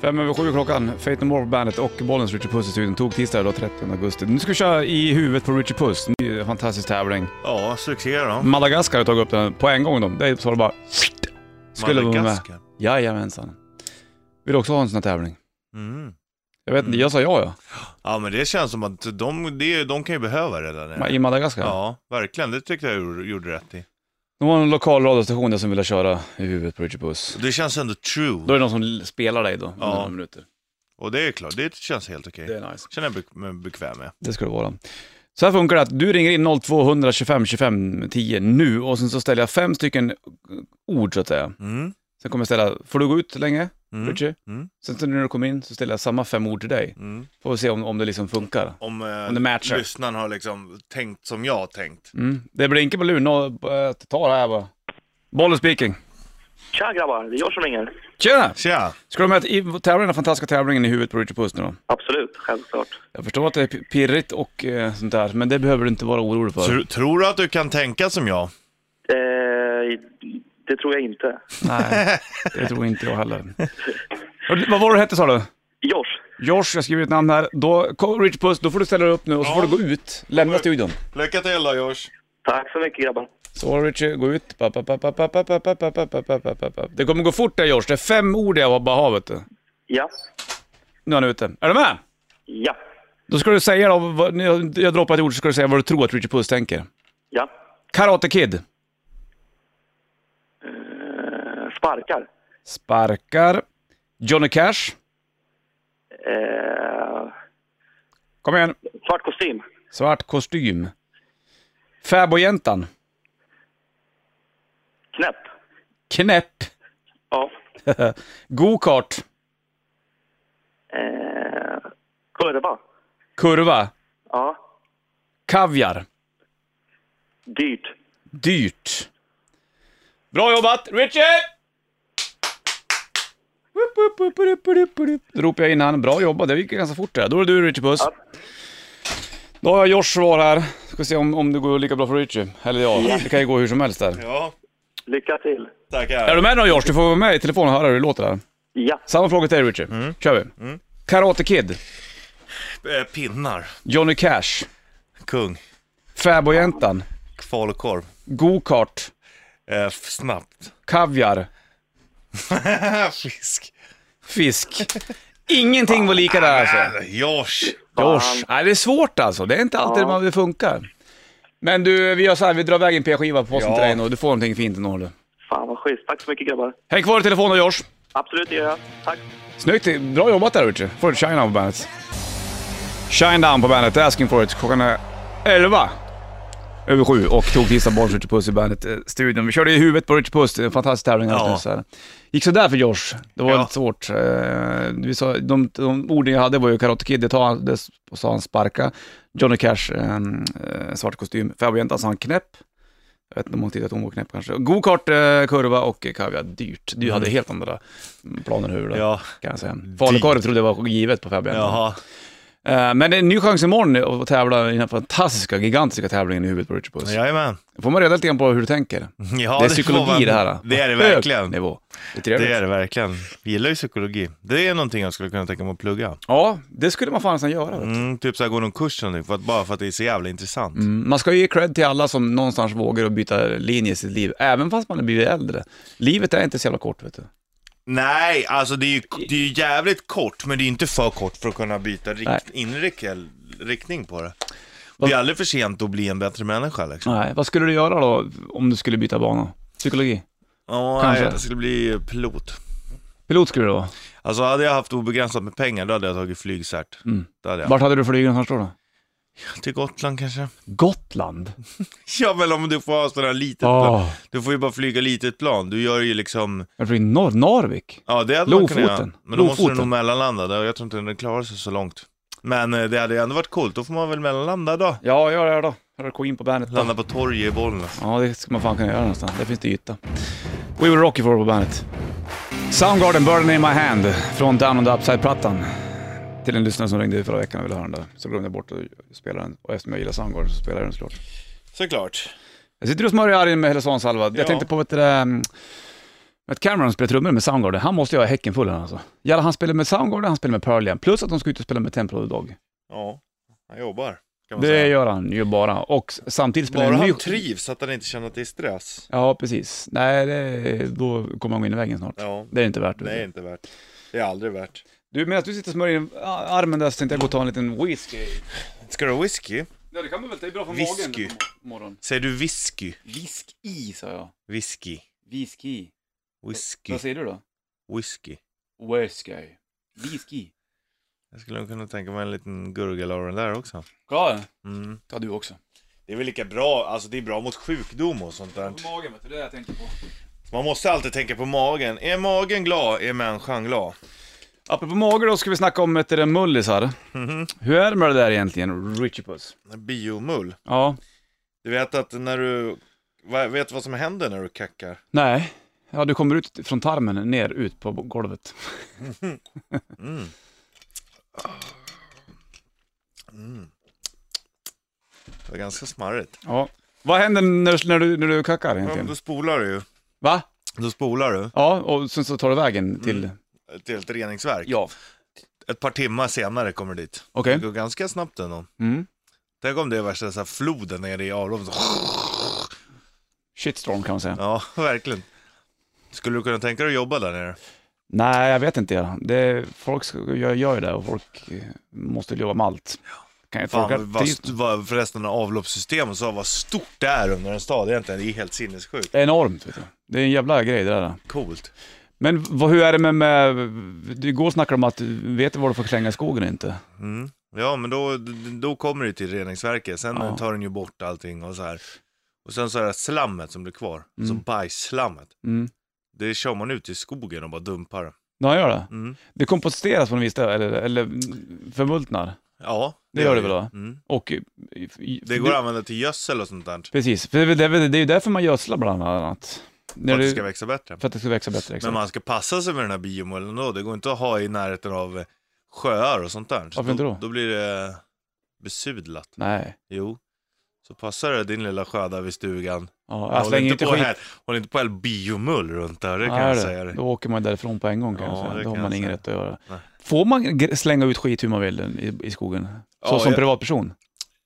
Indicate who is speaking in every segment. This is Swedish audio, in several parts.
Speaker 1: Fem över sju klockan, Fate No More på bandet och Bollens Richard Puss i studion. Tog tisdag då, 30 augusti. Nu ska vi köra i huvudet på Richard Puss. Ny fantastisk tävling.
Speaker 2: Ja, succé då.
Speaker 1: Madagaskar har tagit upp den på en gång då. Det är så det bara... Skulle vara med.
Speaker 2: Madagaskar.
Speaker 1: Jajamensan. Vill du också ha en sån här tävling?
Speaker 2: Mm.
Speaker 1: Jag vet inte, jag sa ja ja.
Speaker 2: Ja, men det känns som att de, det, de kan ju behöva det där
Speaker 1: Ma-
Speaker 2: nere.
Speaker 1: I Madagaskar.
Speaker 2: Ja, verkligen. Det tyckte jag gjorde- gjorde rätt i.
Speaker 1: De har en lokal radiostation där som vill köra i huvudet på Richard Puss.
Speaker 2: Det känns ändå
Speaker 1: Då
Speaker 2: true.
Speaker 1: är det någon som l- spelar dig då, under
Speaker 2: Ja.
Speaker 1: några minuter.
Speaker 2: Och det är klart, det känns helt okej.
Speaker 1: Det är nice.
Speaker 2: Känner jag bek- mig bekväm med.
Speaker 1: Det ska det vara. Så här funkar det att du ringer in 0200 25 25 10 nu och sen så ställer jag fem stycken ord så att säga.
Speaker 2: Mm.
Speaker 1: Sen kommer jag ställa, får du gå ut länge,
Speaker 2: Mm.
Speaker 1: Richie?
Speaker 2: Mm.
Speaker 1: Sen så när du kommer in så ställer jag samma fem ord till dig.
Speaker 2: Mm.
Speaker 1: Får vi se om, om det liksom funkar.
Speaker 2: Om, eh,
Speaker 1: Om det matchar.
Speaker 2: lyssnaren har liksom tänkt som jag har tänkt.
Speaker 1: Mm. Det blinkar på luren, och, eh, ta det här bara. Bollen speaking.
Speaker 3: Tja grabbar, det är jag som ringer.
Speaker 1: Tjena!
Speaker 2: Tja!
Speaker 1: Ska du med i tävlingen, den här fantastiska tävlingen i huvudet på Richard Puss nu då?
Speaker 3: Absolut, självklart.
Speaker 1: Jag förstår att det är p- pirrigt och eh, sånt där, men det behöver du inte vara orolig för.
Speaker 2: Tr- tror du att du kan tänka som jag?
Speaker 3: Eh, det tror jag inte.
Speaker 1: Nej, det tror inte jag heller. Och Vad var det du hette sa du?
Speaker 3: Josh,
Speaker 1: Josh, jag skriver ditt namn här. Då, kom, Richard Puss, då får du ställa dig upp nu och så
Speaker 2: Ja.
Speaker 1: får du gå ut. Lämna studion.
Speaker 2: Lycka till då Josh!
Speaker 3: tack så mycket grabbar.
Speaker 1: Så Richard, gå ut. Pa, pa, pa, pa, pa, pa, pa, pa, pa, pa, pa, pa, pa, pa. Det kommer gå fort där Josh. Det är fem ord jag bara har vet du.
Speaker 3: Ja,
Speaker 1: Nu är han ute. Är du med?
Speaker 3: ja,
Speaker 1: Då ska du säga då, vad- när jag, jag droppar ett ord så ska du säga vad du tror att Richard Puss tänker.
Speaker 3: ja.
Speaker 1: Karate Kid.
Speaker 3: Eh, Sparkar.
Speaker 1: Sparkar. Johnny Cash.
Speaker 3: Eh,
Speaker 1: Kom igen.
Speaker 3: svart kostym.
Speaker 1: Svart kostym. Fäbodjäntan.
Speaker 3: Knäpp.
Speaker 1: Knäpp.
Speaker 3: Ja.
Speaker 1: Go-kart.
Speaker 3: Eh, kurva.
Speaker 1: Kurva.
Speaker 3: Ja.
Speaker 1: Kaviar.
Speaker 3: Dyrt.
Speaker 1: Dyrt. Bra jobbat, Richard! Då ropar jag in han. Bra jobbat, det gick ganska fort där. Då är det du Richie Puss.
Speaker 3: Ja.
Speaker 1: Då har jag Josh svar här. Ska se om, om det går lika bra för Richie. Eller ja, det kan ju gå hur som helst där.
Speaker 2: Ja,
Speaker 3: Lycka till.
Speaker 2: tackar.
Speaker 1: Är du med då Josh? Du får vara med i telefon och höra hur det låter där.
Speaker 3: Ja.
Speaker 1: Samma fråga till dig Richie. kör vi. Karate Kid,
Speaker 2: Eh, Pinnar.
Speaker 1: Johnny Cash,
Speaker 2: Kung.
Speaker 1: Fäbodjäntan,
Speaker 2: Falukorv.
Speaker 1: Go-kart,
Speaker 2: Eh, f- snabbt.
Speaker 1: Kaviar,
Speaker 2: Fisk.
Speaker 1: Fisk. Ingenting var lika där alltså.
Speaker 2: Äh, Josh!
Speaker 1: Josh. Nej, det är svårt alltså. Det är inte alltid
Speaker 3: Ja.
Speaker 1: man det funkar. Men du, vi gör så här, vi drar iväg en p-skiva på posten
Speaker 2: Ja.
Speaker 1: till dig nu och du får någonting fint ändå. du.
Speaker 3: Fan vad schysst. Tack så mycket grabbar.
Speaker 1: Häng kvar i telefonen Josh.
Speaker 3: Absolut, det gör jag. Tack.
Speaker 1: Snyggt, bra jobbat där Richie. Får du Shine Down på bandet. Shine Down på bandet, Asking for it. Klockan är 11 över sju och tog tisdag barns Richie Puss i bandet-studion. Vi körde i huvudet på Richie Puss, det är en fantastisk tävling
Speaker 2: Ja.
Speaker 1: alldeles här. Gick sådär för Josh, det var
Speaker 2: Ja.
Speaker 1: lite svårt. Eh, Vi sa, de, de orden jag hade var ju Karate Kid, det tar han- det sa han sparka. Johnny Cash, eh, eh, svart kostym. Fäbodjäntan sa han knäpp. Jag vet inte om hon tyckte att hon var knäpp kanske. Go-kart, eh, kurva och kaviar, dyrt. Du hade helt andra planer hur då
Speaker 2: Mm. Ja,
Speaker 1: kan jag säga. Falukorv trodde jag var givet på Fabian.
Speaker 2: jaha.
Speaker 1: Eh, Men det är en ny chans imorgon att tävla i den här fantastiska, gigantiska tävlingen i huvudet på Richard Puss.
Speaker 2: Jajamän.
Speaker 1: får man reda lite grann på hur du tänker.
Speaker 2: Ja,
Speaker 1: det är
Speaker 2: får
Speaker 1: psykologi
Speaker 2: man-
Speaker 1: det här.
Speaker 2: Det är det
Speaker 1: Hög
Speaker 2: verkligen.
Speaker 1: Nivå. Det är trevligt.
Speaker 2: Det är det verkligen. Jag gillar ju psykologi. Det är någonting jag skulle kunna tänka mig att plugga.
Speaker 1: Ja, det skulle man fan nästan göra. vet du.
Speaker 2: Mm, typ såhär gå någon kurs eller någonting, för att, bara för att det är så jävla intressant.
Speaker 1: Mm, Man ska ju ge cred till alla som någonstans vågar att byta linje i sitt liv, även fast man har blivit äldre. Livet är inte så jävla kort, vet du.
Speaker 2: Nej, alltså det är, ju, det är ju jävligt kort, men det är inte för kort för att kunna byta
Speaker 1: Nej.
Speaker 2: rikt, inrikt, riktning på det. Det är aldrig för sent att bli en bättre människa liksom.
Speaker 1: Nej, vad skulle du göra då om du skulle byta bana? Psykologi?
Speaker 2: Ja,
Speaker 1: Kanske.
Speaker 2: nej, jag skulle bli pilot.
Speaker 1: Pilot skulle du vara.
Speaker 2: Alltså hade jag haft obegränsat med pengar, då hade jag tagit flygcert. Det hade jag.
Speaker 1: Mm. Vart hade du flugit någonstans då?
Speaker 2: Till Gotland kanske?
Speaker 1: Gotland?
Speaker 2: Ja, men om du får ha sådana här litet plan.
Speaker 1: Ja,
Speaker 2: Du får ju bara flyga litet plan. Du gör ju liksom...
Speaker 1: jag flög norr, Narvik.
Speaker 2: Ja, det hade man kunnat göra.
Speaker 1: Lofoten.
Speaker 2: Men då måste du
Speaker 1: Lofoten.
Speaker 2: nog mellanlanda. Det- Jag tror inte den klarar sig så långt. Men eh, det hade ju ändå varit coolt. Då får man väl mellanlanda då.
Speaker 1: Ja, gör det då. Hör du in på bandet.
Speaker 2: Landa på torget i Bollnäs.
Speaker 1: Ja, det ska man fan kunna göra någonstans. Där finns det yta. We were Rocky for på bandet. Soundgarden, Burden in my hand, från Down on the Upside-plattan. Till en lyssnare som ringde förra veckan och ville höra den där. Så glömde jag bort att spela den. Och eftersom jag gillar Soundgarden så spelar jag den såklart.
Speaker 2: Såklart.
Speaker 1: Jag sitter och smörjer argen med Hellesonsalva. Jag
Speaker 2: Ja.
Speaker 1: tänkte på vet du, det där, mm, Matt Cameron spelar trummor med Soundgarden. Han måste ju ha häcken full han alltså. Jävlar, han spelar med Soundgarden, han spelar med Pearl Jam. Plus att de ska ut och spela med Temple of the Dog.
Speaker 2: Ja, han jobbar. Kan man
Speaker 1: Det
Speaker 2: säga.
Speaker 1: gör han ju bara. Och s- samtidigt spelar
Speaker 2: Bara
Speaker 1: en ny...
Speaker 2: han trivs, att han inte känner att det är stress.
Speaker 1: Ja, precis. Nej, det, då kommer han gå in i väggen snart.
Speaker 2: Ja,
Speaker 1: Det är inte värt det.
Speaker 2: det är inte värt. Det är aldrig värt.
Speaker 1: Du, medan du sitter och smörjer in armen där så tänkte jag gå och ta en liten whisky.
Speaker 2: Ska du ha whisky?
Speaker 1: Ja, det kan man väl ta. Det är bra för
Speaker 2: Whisky.
Speaker 1: magen på morgonen.
Speaker 2: Säger du whisky?
Speaker 1: Whisky, sa jag.
Speaker 2: Whisky.
Speaker 1: Whisky.
Speaker 2: Whisky.
Speaker 1: säger du då?
Speaker 2: Whisky.
Speaker 1: Whisky. Whisky.
Speaker 2: Jag skulle kunna tänka mig en liten gurgel av den där också.
Speaker 1: Klar?
Speaker 2: Mm.
Speaker 1: Ta du också.
Speaker 2: Det är väl lika bra, alltså det är bra mot sjukdom och sånt där.
Speaker 1: Magen, vet du. Det är det jag tänker på.
Speaker 2: Man måste alltid tänka på magen. Är magen glad är människan glad.
Speaker 1: Apropå mager då ska vi snacka om ett det där mullisar.
Speaker 2: Mhm.
Speaker 1: Hur är det med det där egentligen, Richie Puss?
Speaker 2: Biomull.
Speaker 1: Ja.
Speaker 2: Du vet att när du... va- Vet du vad som händer när du kackar?
Speaker 1: Nej. Ja, du kommer ut från tarmen ner ut på golvet.
Speaker 2: Mm. Mm. Det var ganska smarrigt.
Speaker 1: Ja. Vad händer när, när, du, när du kackar
Speaker 2: Ja, men då
Speaker 1: egentligen?
Speaker 2: spolar du ju.
Speaker 1: Va?
Speaker 2: Då spolar du
Speaker 1: Ja, och sen så tar du
Speaker 2: Mm.
Speaker 1: vägen till...
Speaker 2: till ett reningsverk.
Speaker 1: Ja.
Speaker 2: Ett par timmar senare kommer du dit.
Speaker 1: Okej.
Speaker 2: Det går ganska snabbt ändå.
Speaker 1: Mm.
Speaker 2: Tänk om det är värsta så här floden nere i Aron.
Speaker 1: Shitstorm kan man säga.
Speaker 2: Ja, verkligen. Skulle du kunna tänka dig att jobba där nere?
Speaker 1: Nej, jag vet inte. Ja. Det, folk ska, jag gör ju det och folk eh, måste jobba med allt. Kan jag
Speaker 2: Fan,
Speaker 1: tolka
Speaker 2: vad,
Speaker 1: det?
Speaker 2: vad, st- vad förresten avloppssystemet så vad stort det är under en stad egentligen. Det är helt sinnessjukt.
Speaker 1: Det är enormt, vet du. Det är en jävla grej det där.
Speaker 2: Coolt.
Speaker 1: Men vad, hur är det med, med... Du går och snackade om att du vet var du får klänga i skogen eller inte.
Speaker 2: Mm. Ja, men då, då kommer du till reningsverket. Sen
Speaker 1: Ja.
Speaker 2: tar den ju bort allting och så här. Och sen så är det slammet som blir kvar. Så
Speaker 1: Mm.
Speaker 2: bajsslammet.
Speaker 1: Mm.
Speaker 2: Det kör man ut i skogen och bara dumpar. det.
Speaker 1: Ja, jag gör det.
Speaker 2: Mm.
Speaker 1: Det komposteras på något vis, där, eller, eller förmultnar.
Speaker 2: Ja,
Speaker 1: Det gör det
Speaker 2: ju.
Speaker 1: väl då?
Speaker 2: Mm.
Speaker 1: Och... i- i-
Speaker 2: Det går att använda till gödsel och sånt där.
Speaker 1: Precis, för det, är väl- det, är väl- det är ju därför man gödslar bland annat.
Speaker 2: För
Speaker 1: När
Speaker 2: att det ska
Speaker 1: du,
Speaker 2: växa bättre.
Speaker 1: för att det ska växa bättre. Exakt.
Speaker 2: Men man ska passa sig med den här biomullen då. Det går inte att ha i närheten av eh, sjöar och sånt där. Så
Speaker 1: Varför inte då?
Speaker 2: Då blir det besudlat.
Speaker 1: Nej.
Speaker 2: Jo. Så passar det din lilla sjö där vid stugan.
Speaker 1: Ja, jag
Speaker 2: Håll
Speaker 1: slänger inte
Speaker 2: inte, på
Speaker 1: skit.
Speaker 2: här, håll inte på all biomull runt där, det kan
Speaker 1: Nej,
Speaker 2: jag
Speaker 1: du.
Speaker 2: säga dig.
Speaker 1: Då åker man därifrån på en gång kan
Speaker 2: Ja,
Speaker 1: jag säga.
Speaker 2: det
Speaker 1: Då har
Speaker 2: kan
Speaker 1: man
Speaker 2: jag
Speaker 1: ingen
Speaker 2: säga.
Speaker 1: rätt att göra.
Speaker 2: Nej.
Speaker 1: Får man gr- slänga ut skit hur man vill i, i skogen? Så
Speaker 2: Ja,
Speaker 1: som
Speaker 2: jag-
Speaker 1: privatperson?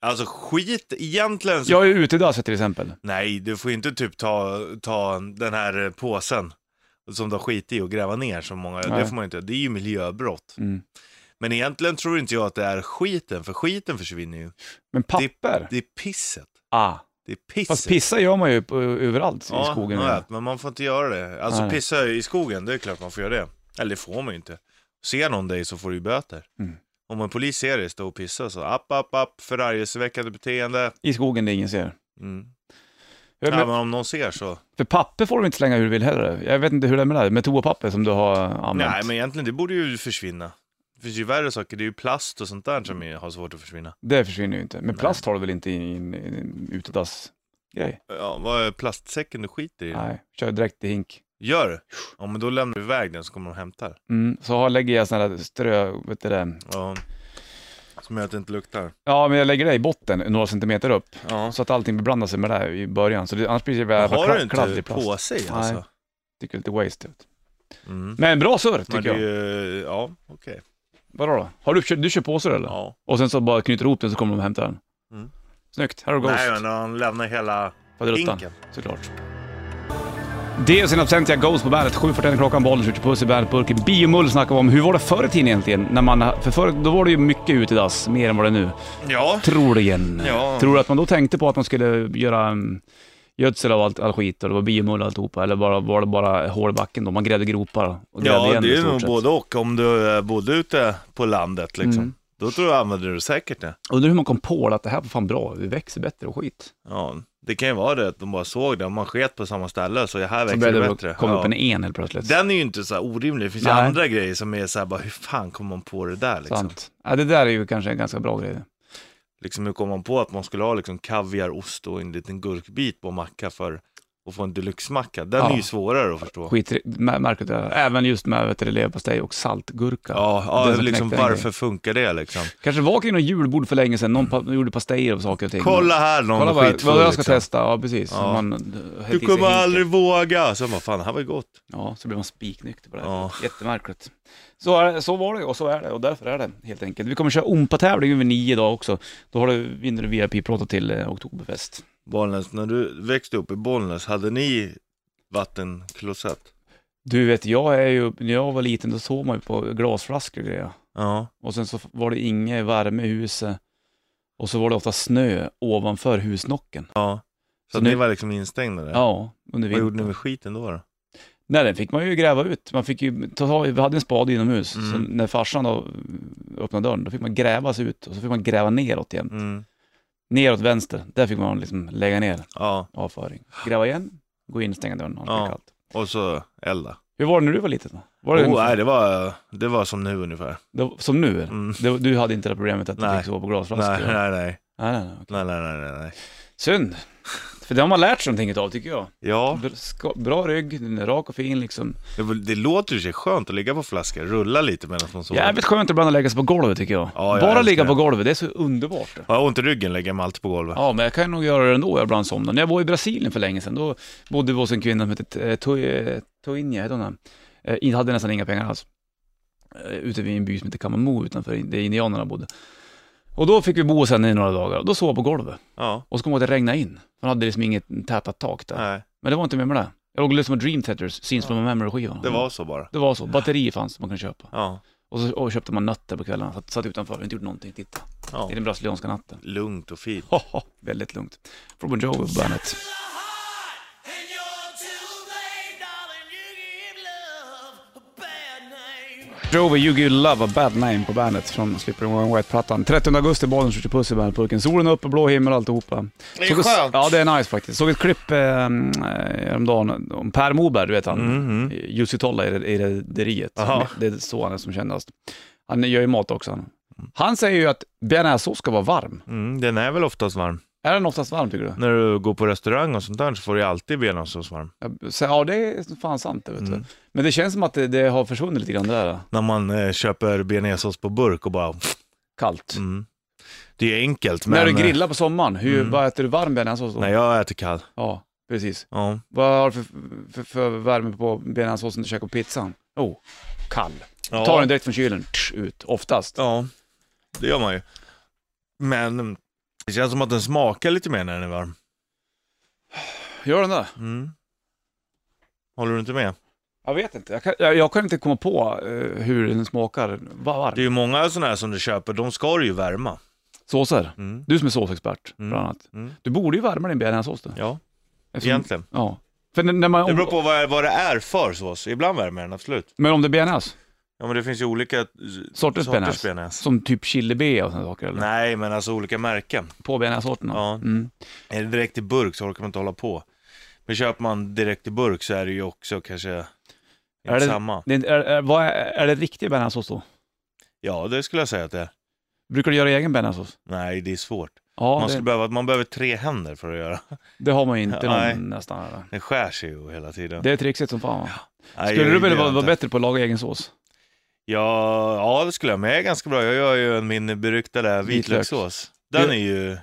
Speaker 2: Alltså skit egentligen. Så...
Speaker 1: Jag är utedasset till exempel.
Speaker 2: Nej, du får inte typ ta, ta den här eh, påsen som du har skit i och gräva ner som många
Speaker 1: Nej.
Speaker 2: Det får man inte göra. Det är ju miljöbrott.
Speaker 1: Mm.
Speaker 2: Men egentligen tror inte jag att det är skiten, för skiten försvinner ju.
Speaker 1: Men papper?
Speaker 2: Det är pisset.
Speaker 1: ah.
Speaker 2: Det är pisset.
Speaker 1: Fast pissa gör man ju på, överallt i
Speaker 2: ja,
Speaker 1: skogen.
Speaker 2: jag vet, men man får inte göra det. Alltså
Speaker 1: Nej.
Speaker 2: pissa i skogen, det är klart man får göra det. Eller det får man ju inte. Ser någon dig så får du ju böter.
Speaker 1: Mm.
Speaker 2: Om en polis ser dig stå och pissa så app, app, app, förargelseväckande beteende.
Speaker 1: I skogen där ingen ser.
Speaker 2: Mm.
Speaker 1: Ja,
Speaker 2: Ja,
Speaker 1: men,
Speaker 2: men om någon ser så.
Speaker 1: För papper får du inte slänga hur du vill heller. Jag vet inte hur det är med det här. Med toapapper som du har använt.
Speaker 2: Nej, men egentligen det borde ju försvinna. Det finns ju värre saker, det är ju plast och sånt där som
Speaker 1: Mm.
Speaker 2: är- har svårt att försvinna.
Speaker 1: Det försvinner ju inte. Men plast har du väl inte i en i en utedassgrej?
Speaker 2: Ja, vad är plastsäcken du skiter i?
Speaker 1: Nej, kör direkt i hink.
Speaker 2: Gör det? Ja, men då lämnar du iväg den så kommer de hämta den.
Speaker 1: Mm. Så har, lägger jag sådana där strö, vet du det?
Speaker 2: Ja. Som gör att det inte luktar.
Speaker 1: Ja, men jag lägger det i botten, några centimeter upp.
Speaker 2: Ja.
Speaker 1: Så att allting beblandar sig med det här i början. Så det, annars blir det bara
Speaker 2: Har du
Speaker 1: kla- kladdig
Speaker 2: inte
Speaker 1: plast.
Speaker 2: påse i,
Speaker 1: Nej.
Speaker 2: alltså?
Speaker 1: Tycker lite waste ut.
Speaker 2: Mm.
Speaker 1: Men bra surr tycker
Speaker 2: Men det är
Speaker 1: jag.
Speaker 2: ju, ja, okej.
Speaker 1: Vadå då? Har du, köpt- du kör påsar eller?
Speaker 2: Ja.
Speaker 1: Och sen så bara knyter ihop den så kommer de och hämtar den.
Speaker 2: Mm.
Speaker 1: Snyggt, här har du Ghost.
Speaker 2: Nej, men han lämnar hela
Speaker 1: Faderuttan,
Speaker 2: hinken.
Speaker 1: såklart. Deus in absentia Ghost på bandet. 7.41 klockan, bollen skjuter puss i bandetburken. Biomull snackar vi om. Hur var det förr i tiden egentligen? När man, för förr, då var det ju mycket ut i dass, mer än vad det är nu.
Speaker 2: Ja.
Speaker 1: Troligen.
Speaker 2: Ja.
Speaker 1: Tror du att man då tänkte på att man skulle göra um, gödsel av allt, all skit och det var biomull och alltihopa? Eller bara, var det bara hål i backen då? Man grävde gropar och grävde
Speaker 2: Ja,
Speaker 1: igen
Speaker 2: det
Speaker 1: i
Speaker 2: är
Speaker 1: stort
Speaker 2: nog
Speaker 1: sett.
Speaker 2: både och. Om du eh, bodde ute på landet liksom.
Speaker 1: Mm.
Speaker 2: Då tror jag använder du säkert det.
Speaker 1: Undrar hur man kom på att det här var fan bra, vi växer bättre och skit.
Speaker 2: Ja, det kan ju vara det att de bara såg det. Om man sket på samma ställe så här
Speaker 1: Så
Speaker 2: växer
Speaker 1: började
Speaker 2: det
Speaker 1: det
Speaker 2: bättre.
Speaker 1: komma
Speaker 2: ja.
Speaker 1: upp en en helt plötsligt.
Speaker 2: Den är ju inte så här orimlig. Det finns ju
Speaker 1: Nej.
Speaker 2: andra grejer som är så här bara, hur fan kom man på det där liksom?
Speaker 1: Sant. Ja, det där är ju kanske en ganska bra grej.
Speaker 2: Liksom hur kom man på att man skulle ha liksom kaviar, ost och en liten gurkbit på macka för och få en deluxe-macka. Den
Speaker 1: Ja.
Speaker 2: är ju svårare att förstå.
Speaker 1: Skit, mär- märker du det? Även just med vet du, leverpastej och saltgurka.
Speaker 2: Ja, ja
Speaker 1: Den som
Speaker 2: liksom
Speaker 1: knäckte den
Speaker 2: varför funkar det liksom?
Speaker 1: Kanske var kring något julbord för länge sedan, någon pa- gjorde pastejer och saker och ting.
Speaker 2: Kolla här någon
Speaker 1: Kolla
Speaker 2: är
Speaker 1: vad,
Speaker 2: skitfull,
Speaker 1: vad jag ska
Speaker 2: liksom.
Speaker 1: testa, ja precis.
Speaker 2: Ja.
Speaker 1: Man, eh, hette i
Speaker 2: Du
Speaker 1: sig
Speaker 2: kommer
Speaker 1: hinken.
Speaker 2: aldrig våga! Så vad fan, det här var ju gott.
Speaker 1: Ja, så blir man spiknykter på det. här.
Speaker 2: Ja.
Speaker 1: Jättemärkligt. Så, är, så var det och så är det och därför är det helt enkelt. Vi kommer köra ompa-tävling över nio idag också. Då har du, vinner du VIP-plåta till eh, Oktoberfest.
Speaker 2: Bollnäs, när du växte upp i Bollnäs, hade ni vattenklosett?
Speaker 1: Du vet, jag är ju, när jag var liten då såg man ju på glasflaskor och grejer.
Speaker 2: Ja.
Speaker 1: Och sen så var det inget värme i huset. Och så var det ofta snö ovanför husnocken.
Speaker 2: ja. Så,
Speaker 1: Så
Speaker 2: att
Speaker 1: nu-
Speaker 2: ni var liksom instängda där?
Speaker 1: Ja, under
Speaker 2: Vad gjorde ni
Speaker 1: vintern.
Speaker 2: med skiten då? då?
Speaker 1: Nej, den fick man ju gräva ut. Man fick ju ta tag i, vi hade en spade inomhus.
Speaker 2: Mm.
Speaker 1: Så när farsan då öppnade dörren, då fick man gräva sig ut och så fick man gräva neråt igen.
Speaker 2: Mm.
Speaker 1: Neråt vänster, där fick man liksom lägga ner
Speaker 2: Ja,
Speaker 1: avföring. Gräva igen, gå in, stänga dörren, annars blir det
Speaker 2: Ja.
Speaker 1: kallt.
Speaker 2: och så elda.
Speaker 1: Hur var det när du var liten? då? Var det,
Speaker 2: Oh, nej, det, var, det var som nu ungefär.
Speaker 1: det var- som nu? eller?
Speaker 2: Mm.
Speaker 1: Det, du hade inte det problemet att du
Speaker 2: Nej.
Speaker 1: fick sova på glasflaskor?
Speaker 2: Nej, nej, nej.
Speaker 1: nej, nej, nej, okej.
Speaker 2: nej, nej, nej, nej, nej.
Speaker 1: Synd. För det har man lärt sig någonting utav tycker jag.
Speaker 2: Ja,
Speaker 1: Bra, ska- bra rygg, den är rak och fin liksom.
Speaker 2: det, var- det låter ju sig skönt att ligga på flaska, rulla lite medan man sover.
Speaker 1: Jävligt skönt ibland att lägga sig på golvet tycker jag.
Speaker 2: Ja, jag
Speaker 1: Bara
Speaker 2: älskar
Speaker 1: ligga på
Speaker 2: det.
Speaker 1: golvet, det är så underbart. det.
Speaker 2: Har jag ont i ryggen lägger jag mig alltid på golvet.
Speaker 1: Ja, men jag kan nog göra det ändå jag ibland somnar. När jag var i Brasilien för länge sedan, då bodde vi hos en kvinna som hette eh, Toi- eh, Toinha, hette hon det? Eh, in- hade nästan inga pengar alls. Eh, Ute vid en by som heter Kamamu utanför in- där indianerna bodde. Och då fick vi bo hos henne i några dagar och då sov jag på golvet.
Speaker 2: Ja,
Speaker 1: Och så kom jag att det regnade in. Man hade liksom inget tätat tak där.
Speaker 2: nej.
Speaker 1: Men det var inte med med det. Jag låg och lyssnade på Dream Theaters, Scenes from a Memory-skivan.
Speaker 2: Det var så bara.
Speaker 1: Det var så. Batterier fanns man kunde köpa.
Speaker 2: Ja,
Speaker 1: Och så och köpte man nötter på kvällarna. Satt, satt utanför, inte gjort någonting. Titta,
Speaker 2: ja.
Speaker 1: det är den brasilianska natten.
Speaker 2: Lugnt och fint.
Speaker 1: Haha, väldigt lugnt. Från Bon Jovi på bandet.
Speaker 4: And you're too late, darling. You give love a bad name.
Speaker 1: Jovi, You Give Love A Bad Name på bandet från Slipper One White-plattan. 30 augusti, Bollnäs skjuter puss i bandpurken. Solen upp, blå himmel och alltihopa.
Speaker 2: Det är
Speaker 1: Såg ett-
Speaker 2: skönt.
Speaker 1: Ja, det är nice faktiskt. Såg ett klipp eh, häromdagen om Per Moberg, du vet han.
Speaker 2: Mhm.
Speaker 1: Jussi Tolla i, i Rederiet.
Speaker 2: Aha.
Speaker 1: Det är så han är som kändast. Han gör ju mat också. Han, han säger ju att bearnaisesås ska vara varm.
Speaker 2: Mm, den är väl oftast varm.
Speaker 1: Är den oftast varm tycker du?
Speaker 2: När du går på restaurang och sånt där så får du ju alltid bearnaisesås varm.
Speaker 1: Jag säger, Ja, det är fan sant det vet
Speaker 2: Mm.
Speaker 1: du. Men det känns som att det, det har försvunnit lite grann det där.
Speaker 2: När man eh, köper bearnaisesås på burk och bara...
Speaker 1: Kallt.
Speaker 2: Mm. Det är enkelt, men...
Speaker 1: När du
Speaker 2: eh,
Speaker 1: grillar på sommaren, hur,
Speaker 2: Mm.
Speaker 1: vad äter du varm bearnaisesås då?
Speaker 2: Nej, jag äter kall.
Speaker 1: Ja, precis.
Speaker 2: Ja.
Speaker 1: Vad har du för, för, för värme på bearnaisesåsen du käkar på pizzan? Oh, kall.
Speaker 2: ja.
Speaker 1: Tar den direkt från kylen, tsch, ut, oftast.
Speaker 2: Ja, det gör man ju. Men det känns som att den smakar lite mer när den är varm.
Speaker 1: Gör den det?
Speaker 2: Mm. Håller du inte med?
Speaker 1: Jag vet inte, jag kan, jag, jag kan inte komma på eh, hur den smakar Va- varm.
Speaker 2: Det är ju många sådana här som du köper, de ska du ju värma.
Speaker 1: Såser.
Speaker 2: Mm.
Speaker 1: Du som är såsexpert,
Speaker 2: Mm.
Speaker 1: bland annat.
Speaker 2: Mm.
Speaker 1: Du borde ju värma din bearnaisesås då.
Speaker 2: Ja,
Speaker 1: Eftersom-
Speaker 2: egentligen.
Speaker 1: Ja. För när när man,
Speaker 2: Det beror på vad, vad det är för sås. Ibland värmer den, absolut.
Speaker 1: Men om det är bearnaise?
Speaker 2: Ja, men det finns ju olika eh,
Speaker 1: Sorters
Speaker 2: sorters
Speaker 1: bearnaise?
Speaker 2: bearnaise.
Speaker 1: Som typ chilibea och sådana saker? Eller?
Speaker 2: Nej, men alltså olika märken.
Speaker 1: På bearnaisesorterna?
Speaker 2: Ja.
Speaker 1: Mm.
Speaker 2: Är det direkt i burk så orkar man inte hålla på. Men köper man direkt i burk så är det ju också kanske
Speaker 1: Är
Speaker 2: inte samma.
Speaker 1: Det, är, inte- är, är, vad är, är det riktig bearnaisesås då?
Speaker 2: Ja, det skulle jag säga att det är.
Speaker 1: Brukar du göra egen bearnaisesås?
Speaker 2: Nej, det är svårt.
Speaker 1: Ja,
Speaker 2: man,
Speaker 1: det,
Speaker 2: skulle behöva, man behöver tre händer för att göra.
Speaker 1: det har man ju inte
Speaker 2: Nej.
Speaker 1: någon nästan. Eller?
Speaker 2: Den skär sig ju hela tiden.
Speaker 1: Det är trixigt som fan. Va? Skulle
Speaker 2: Nej, jag-
Speaker 1: du vilja
Speaker 2: det gör
Speaker 1: vara,
Speaker 2: jag
Speaker 1: vara
Speaker 2: inte.
Speaker 1: bättre på att laga egen sås?
Speaker 2: Ja, ja, det skulle jag. Men jag är ganska bra. Jag gör ju en min beryktade
Speaker 1: Vitlök.
Speaker 2: vitlökssås. Den
Speaker 1: Det-
Speaker 2: är ju,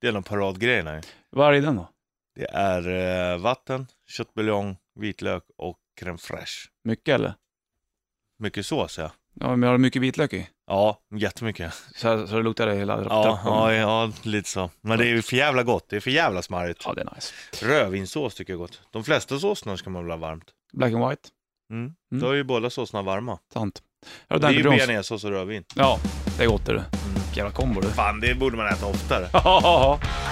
Speaker 2: det är en av paradgrejerna. ju.
Speaker 1: Vad är det i den då?
Speaker 2: Det är eh, vatten, köttbuljong, vitlök och crème fraîche.
Speaker 1: Mycket eller?
Speaker 2: Mycket sås ja.
Speaker 1: Ja, men har du mycket vitlök i?
Speaker 2: Ja, jättemycket.
Speaker 1: Så, här, så det luktar det hela
Speaker 2: Ja,
Speaker 1: trappan.
Speaker 2: ja, ja, lite så. Men det är ju för jävla gott. Det är för jävla smarrigt.
Speaker 1: ja, det är nice.
Speaker 2: Rödvinssås tycker jag är gott. De flesta såserna ska man väl ha varmt.
Speaker 1: Black and white,
Speaker 2: Mm.
Speaker 1: Mm.
Speaker 2: Då är ju båda såserna varma.
Speaker 1: sant. Här
Speaker 2: Det
Speaker 1: har du
Speaker 2: är ju Mm.
Speaker 1: Danko Jones.
Speaker 2: bearnaisesås och rödvin.
Speaker 1: Ja, det är gott är det. Vilken jävla kombo du.
Speaker 2: Fan, det borde man äta oftare.
Speaker 1: Ja, ja, ja.
Speaker 4: I